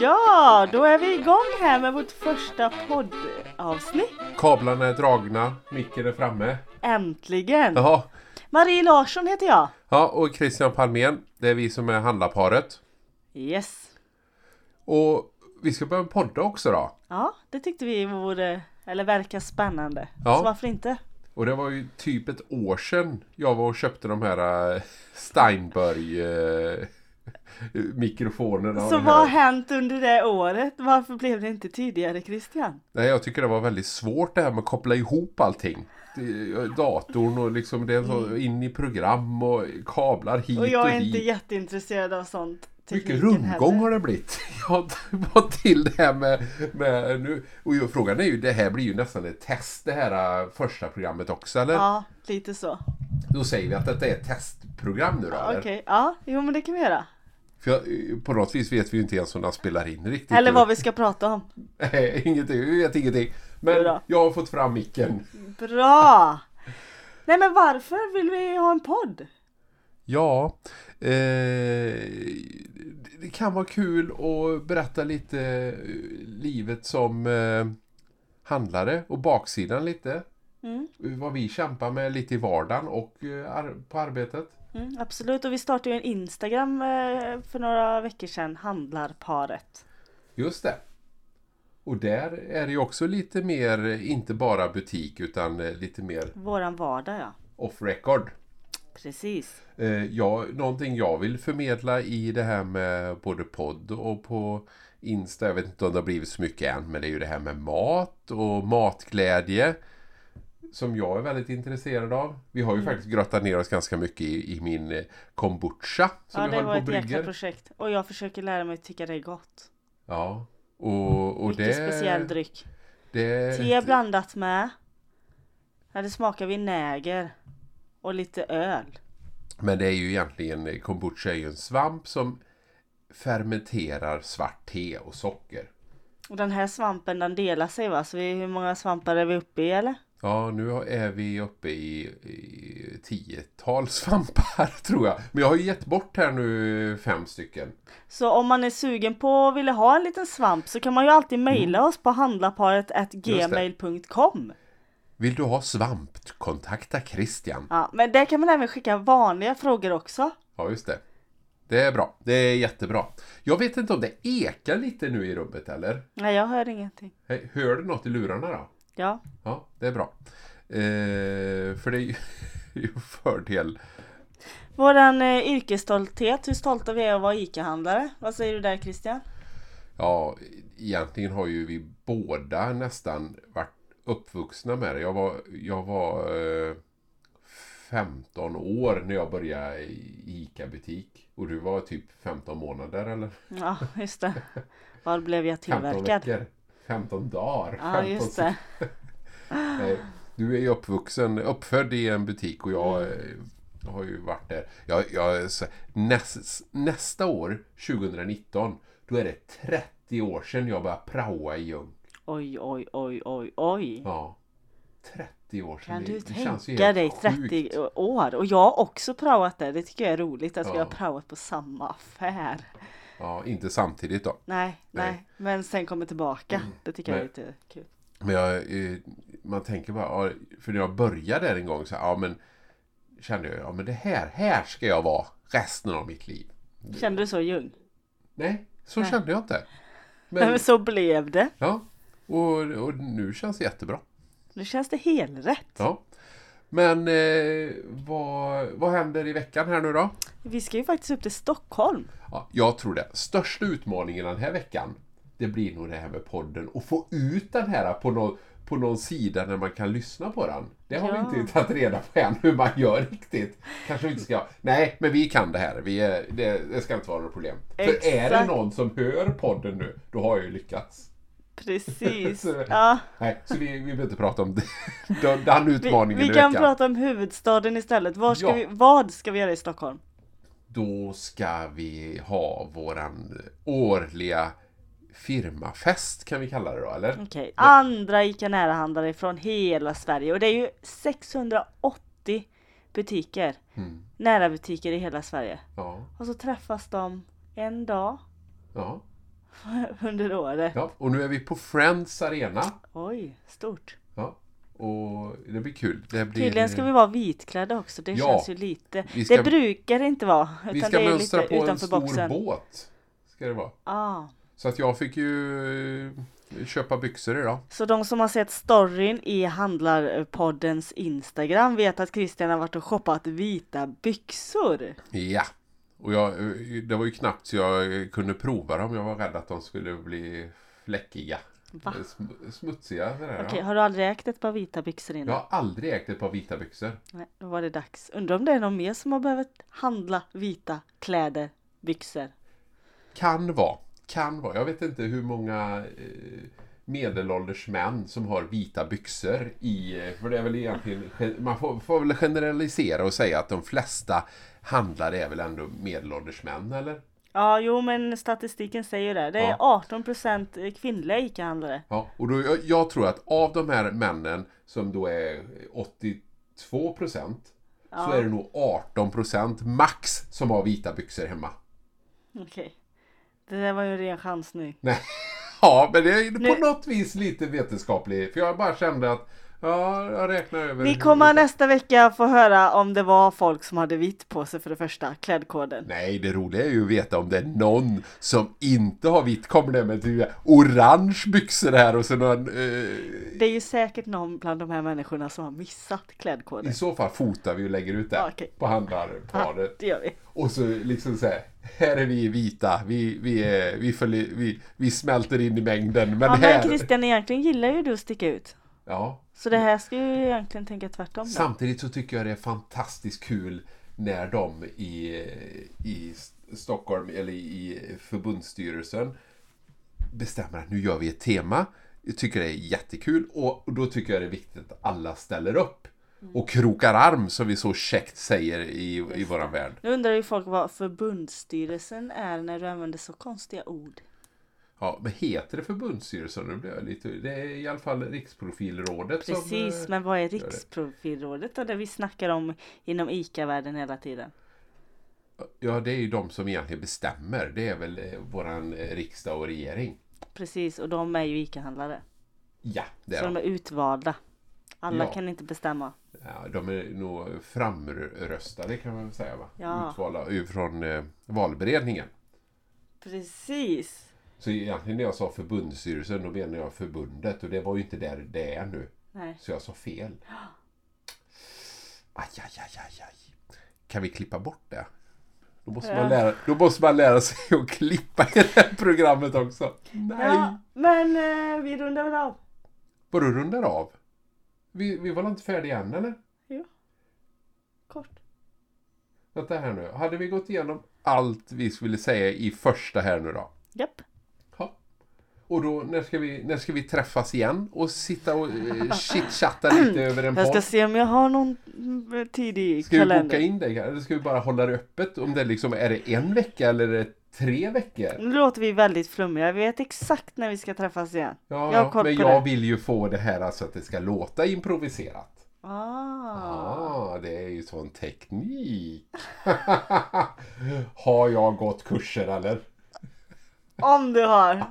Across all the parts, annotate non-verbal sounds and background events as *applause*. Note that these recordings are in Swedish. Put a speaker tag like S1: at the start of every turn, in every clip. S1: Ja, då är vi igång här med vårt första poddavsnitt.
S2: Kablarna är dragna, micken är framme.
S1: Äntligen!
S2: Jaha.
S1: Marie Larsson heter jag.
S2: Ja, och Christian Palmén, det är vi som är handlarparet.
S1: Yes.
S2: Och vi ska börja podda också då.
S1: Ja, det tyckte vi vore, eller verkar spännande.
S2: Ja.
S1: Så varför inte?
S2: Och det var ju typ ett år sedan jag var och köpte de här eh, Steinberg eh, mikrofonerna. och
S1: så
S2: det
S1: vad har
S2: här.
S1: hänt under det året? Varför blev det inte tidigare Christian?
S2: Nej, jag tycker det var väldigt svårt det här med att koppla ihop allting. Det- eh, Datorn och liksom det är så in i program och kablar hit och,
S1: Mm. Och jag är
S2: dit.
S1: inte jätteintresserad av sånt.
S2: Mycket
S1: tekniken
S2: rundgång
S1: heller.
S2: har det blivit. *laughs* Jag var till det här med, med nu. Och ju- frågan är ju, det här blir ju nästan ett test det här äh, första programmet också eller?
S1: Ja, lite så.
S2: Då säger vi att detta är ett testprogram nu då
S1: Okej,
S2: eller?
S1: ja, jo men det kan vi göra.
S2: För jag, eh, på något vis vet vi ju inte ens om den spelar in riktigt.
S1: Eller vad vi ska prata om.
S2: *laughs* Nej, ingenting, vi vet ingenting.
S1: Jo
S2: Men
S1: då.
S2: jag har fått fram micken.
S1: Bra! Nej men varför vill vi ha en podd?
S2: Ja, eh, det- det kan vara kul att berätta lite eh, livet som eh, handlare och baksidan lite.
S1: Mm.
S2: Vad vi kämpar med lite i vardagen och eh, ar- på arbetet.
S1: Mm, absolut, och vi startade ju en Instagram eh, för några veckor sedan, Handlarparet.
S2: Just det. Och där är det ju också lite mer, eh, inte bara butik utan eh, lite mer
S1: Våran vardag ja,
S2: off record.
S1: precis.
S2: Eh, ja, någonting jag vill förmedla i det här med både podd och på Insta. Jag vet inte om det har blivit så mycket än, men det är ju det här med mat och matglädje. Som jag är väldigt intresserad av. Vi
S1: Mm.
S2: har ju faktiskt grottat ner oss ganska mycket i, i min eh, kombucha.
S1: ja,
S2: Som jag
S1: det
S2: höll
S1: var
S2: på
S1: ett
S2: och
S1: jäkla
S2: brygger.
S1: projekt. Och jag försöker lära mig att tycka det är gott.
S2: Ja. Och, och
S1: Mycket
S2: det...
S1: speciell dryck.
S2: det,
S1: Te blandat med. Ja, det smakar vinäger. Och lite öl.
S2: Men det är ju egentligen, eh, kombucha är ju en svamp som fermenterar svart te och socker.
S1: Och den här svampen den delar sig va? Så vi, hur många svampar är vi uppe i eller?
S2: Ja, nu har- är vi uppe i, i tiotal svampar *laughs* tror jag. Men jag har ju gett bort här nu fem stycken.
S1: Så om man är sugen på och vill ha en liten svamp så kan man ju alltid mejla
S2: Mm.
S1: oss på handlaparet@gmail.com.
S2: Vill du ha svamp? Kontakta Christian.
S1: Ja, men där kan man även skicka vanliga frågor också.
S2: Ja, just det. Det är bra. Det är jättebra. Jag vet inte om det ekar lite nu i rummet eller?
S1: Nej, jag hör ingenting.
S2: Hej, Hör du något i lurarna då?
S1: Ja,
S2: Ja, det är bra. Eh, för det är ju- *laughs* det är ju en fördel.
S1: våran eh, yrkesstolthet, hur stolta vi är att vara ICA-handlare. Vad säger du där Christian?
S2: Ja, egentligen har ju vi båda nästan varit uppvuxna med det. Jag var, jag var eh, 15 år när jag började i ICA-butik. Och du var typ 15 månader eller?
S1: Ja, just det. Var blev jag
S2: 15
S1: tillverkad?
S2: veckor? 15 dagar?
S1: Ja, just det.
S2: Nej, du är ju uppvuxen, uppfödd i en butik och
S1: Mm.
S2: jag eh, har ju varit där. Jag, jag, så- näs, nästa år, 2019, då är det 30 år sedan jag började praoa i Ljung.
S1: Oj, oj, oj, oj, oj.
S2: Ja. 30 år sedan.
S1: Kan
S2: Det-
S1: du
S2: det känns ju
S1: tänka
S2: helt
S1: dig
S2: sjukt.
S1: 30 år? Och jag har också praoat det. Det tycker jag är roligt att vi
S2: Ja.
S1: har praoat på samma affär.
S2: Ja, inte samtidigt då.
S1: Nej, nej,
S2: Nej. Mm.
S1: men sen kommer tillbaka. Det tycker jag är
S2: Nej.
S1: lite kul.
S2: Men jag, eh, man tänker bara, ja, för när jag började där en gång så ja, men, kände jag, ja men det här, här ska jag vara resten av mitt liv.
S1: Kände du så Ljung?
S2: Nej, så
S1: Nej.
S2: kände jag inte.
S1: Nej, *laughs*
S2: Men,
S1: men så blev det.
S2: ja, och, och nu känns det jättebra.
S1: Nu känns det helrätt.
S2: Ja. Men eh, vad, vad händer i veckan här nu då?
S1: Vi ska ju faktiskt upp till Stockholm.
S2: Ja, jag tror det. Största utmaningen den här veckan, det blir nog det här med podden och få ut den här på någon, på någon sida där man kan lyssna på den. Det har
S1: Ja.
S2: vi inte tagit reda på än hur man gör riktigt. Kanske vi inte ska... Nej, men vi kan det här. Vi är, det, det ska inte vara något problem. För är det
S1: Exakt.
S2: någon som hör podden nu, då har jag ju lyckats. *laughs*
S1: Precis.
S2: Så-
S1: Ja.
S2: Nej, så vi, vi behöver inte prata om den, den
S1: Vi,
S2: utmaningen
S1: vi
S2: i
S1: kan
S2: veckan.
S1: prata om huvudstaden istället. Var ska
S2: Ja.
S1: vi, vad ska vi göra i Stockholm?
S2: Då ska vi ha våran årliga firmafest kan vi kalla det då, eller?
S1: Okej, andra ICA Nära-handlare från hela Sverige. Och det är ju 680 butiker.
S2: Mm.
S1: Nära butiker i hela Sverige.
S2: Ja,
S1: Och så träffas de en dag.
S2: ja.
S1: *laughs* under året.
S2: Ja, och nu är vi på Friends Arena.
S1: Oj, stort.
S2: Ja, och det blir kul. Det blir,
S1: Tydligen ska vi vara vitklädda också. Det
S2: Ja.
S1: känns ju lite.
S2: Vi ska-
S1: det brukar det inte vara. Utan
S2: vi ska
S1: det är
S2: mönstra
S1: lite
S2: på en
S1: utanför
S2: stor
S1: boxen.
S2: båt. Ska det vara.
S1: Ah.
S2: Så att jag fick ju eh, köpa byxor idag.
S1: Så de som har sett storyn i Handlarpoddens Instagram vet att Christian har varit och shoppat vita byxor.
S2: Ja. Och jag, eh, det var ju knappt så jag eh, kunde prova dem. Jag var rädd att de skulle bli fläckiga.
S1: Va?
S2: Eh, sm- Smutsiga. Sådär,
S1: Okej,
S2: ja.
S1: har du aldrig ägt ett par vita byxor innan?
S2: Jag har aldrig ägt ett par vita byxor.
S1: Nej, då var det dags. Undrar om det är någon mer som har behövt handla vita kläder, byxor.
S2: Kan vara. Kan vara. Jag vet inte hur många eh, medelålders män som har vita byxor i... eh, För det är väl egentligen... Man får, får väl generalisera och säga att de flesta handlare är väl ändå medelålders män, eller?
S1: Ja, jo, men statistiken säger det. Det är 18% kvinnliga ICA-handlare.
S2: Ja, och då, jag, jag tror att av de här männen som då är 82 procent så
S1: Ja.
S2: är det nog 18 procent max som har vita byxor hemma.
S1: Okej. Det där var ju en ren chans nu.
S2: Nej. *laughs* Ja, men det är på
S1: Nu-
S2: något vis lite vetenskaplig. För jag bara kände att ja, jag räknar över.
S1: Vi kommer nästa vecka få höra om det var folk som hade vitt på sig för det första, klädkoden.
S2: Nej, det roliga är ju att veta om det är någon som inte har vitt. Kommer det med typ orange byxor här och så någon... Eh,
S1: Det är ju säkert någon bland de här människorna som har missat
S2: I
S1: klädkoden.
S2: så fall fotar vi och lägger ut det
S1: Ja, okej.
S2: på handlarparet.
S1: Det gör vi.
S2: Och så liksom så här, här är vi vita, vi, vi, är, vi, följer, vi, vi smälter in i mängden. Men
S1: Ja men
S2: här...
S1: Christian, egentligen gillar ju du att sticka ut.
S2: Ja.
S1: Så det här ska ju egentligen tänka tvärtom då.
S2: Samtidigt så tycker jag det är fantastiskt kul när de i, i Stockholm, eller i förbundsstyrelsen, bestämmer att nu gör vi ett tema. Jag tycker det är jättekul och då tycker jag det är viktigt att alla ställer upp.
S1: Mm.
S2: Och krokar arm som vi så käckt säger i, i våran värld.
S1: Nu undrar ju folk vad förbundsstyrelsen är när du använder så konstiga ord.
S2: Ja, men heter det förbundsstyrelsen? Nu blir jag lite... Det är i alla fall Riksprofilrådet
S1: Precis,
S2: som... eh,
S1: men vad är Riksprofilrådet och det vi snackar om inom ICA-världen hela tiden?
S2: Ja, det är ju de som egentligen bestämmer. Det är väl eh, våran eh, riksdag och regering.
S1: Precis, och de är ju ICA-handlare.
S2: Ja, det är
S1: Så de
S2: de.
S1: är utvalda. Alla
S2: Ja.
S1: kan inte bestämma.
S2: Ja, de är nog framröstade kan man väl säga va?
S1: Ja.
S2: Utvalda från eh, valberedningen.
S1: Precis!
S2: Så egentligen när jag sa förbundsstyrelsen då menar jag förbundet och det var ju inte där det är nu.
S1: Nej.
S2: Så jag sa fel. Aj, aj, aj, aj, aj. Kan vi klippa bort det? Då måste,
S1: Ja.
S2: man lära, då måste man lära sig att klippa i det här programmet också. Nej!
S1: Ja, men eh, vi rundar väl av.
S2: Var du rundar av? Vi, vi var väl inte färdiga än eller?
S1: Kort.
S2: Vänta här nu. Hade vi gått igenom allt vi skulle säga i första här nu då?
S1: Japp.
S2: Ja. Och då, när ska vi, när ska vi träffas igen och sitta och eh,
S1: *clears throat*
S2: chitchatta lite över en
S1: Jag ska
S2: podd?
S1: se om jag har någon mm, tidig
S2: Ska vi boka
S1: kalender.
S2: in dig här? Eller ska vi bara hålla det öppet? Om det liksom, är det en vecka eller är det tre veckor?
S1: Nu låter vi väldigt flummiga. Vi vet exakt när vi ska träffas igen.
S2: Ja,
S1: Jag har koll
S2: men
S1: på
S2: jag
S1: det.
S2: vill ju få det här alltså att det ska låta improviserat.
S1: Ah.
S2: Ah, det är ju sån teknik. *laughs* Har jag gått kurser eller?
S1: Om du har.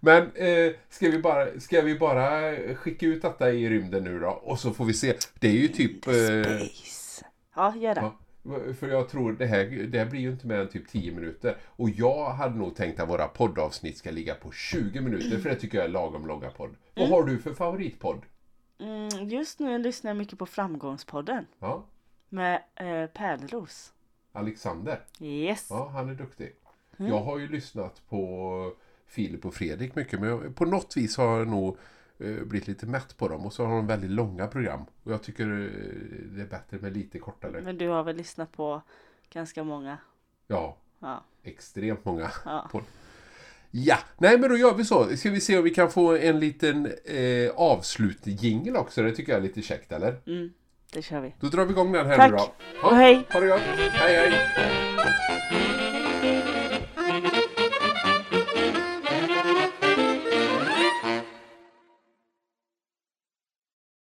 S2: Men eh, ska, vi bara, ska vi bara skicka ut detta i rymden nu då? Och så får vi se. Det är ju typ... Eh,
S1: Space. Ja, gör det.
S2: Ja, För jag tror det här, det här blir ju inte mer än typ 10 minuter. Och jag hade nog tänkt att våra poddavsnitt ska ligga på 20 minuter. För det tycker jag är lagom långa podd. Vad har du för favoritpodd?
S1: Mm, just nu lyssnar jag mycket på Framgångspodden
S2: Ja,
S1: med eh, Pärleros.
S2: Alexander.
S1: Yes.
S2: Ja, han är duktig. Jag har ju lyssnat på Filip och Fredrik mycket. Men jag- på något vis har jag nog eh, blivit lite mätt på dem. Och så har de väldigt långa program. Och jag tycker eh, det är bättre med lite kortare.
S1: Men du har väl lyssnat på ganska många?
S2: Ja,
S1: Ja.
S2: extremt många.
S1: ja.
S2: Ja, nej men då gör vi så. Ska vi se om vi kan få en liten eh, avslutjingel också. Det tycker jag är lite käckt eller?
S1: Mm, det kör vi.
S2: Då drar vi igång den här
S1: Tack.
S2: nu då.
S1: Och hej.
S2: Ha det gott! Hej hej!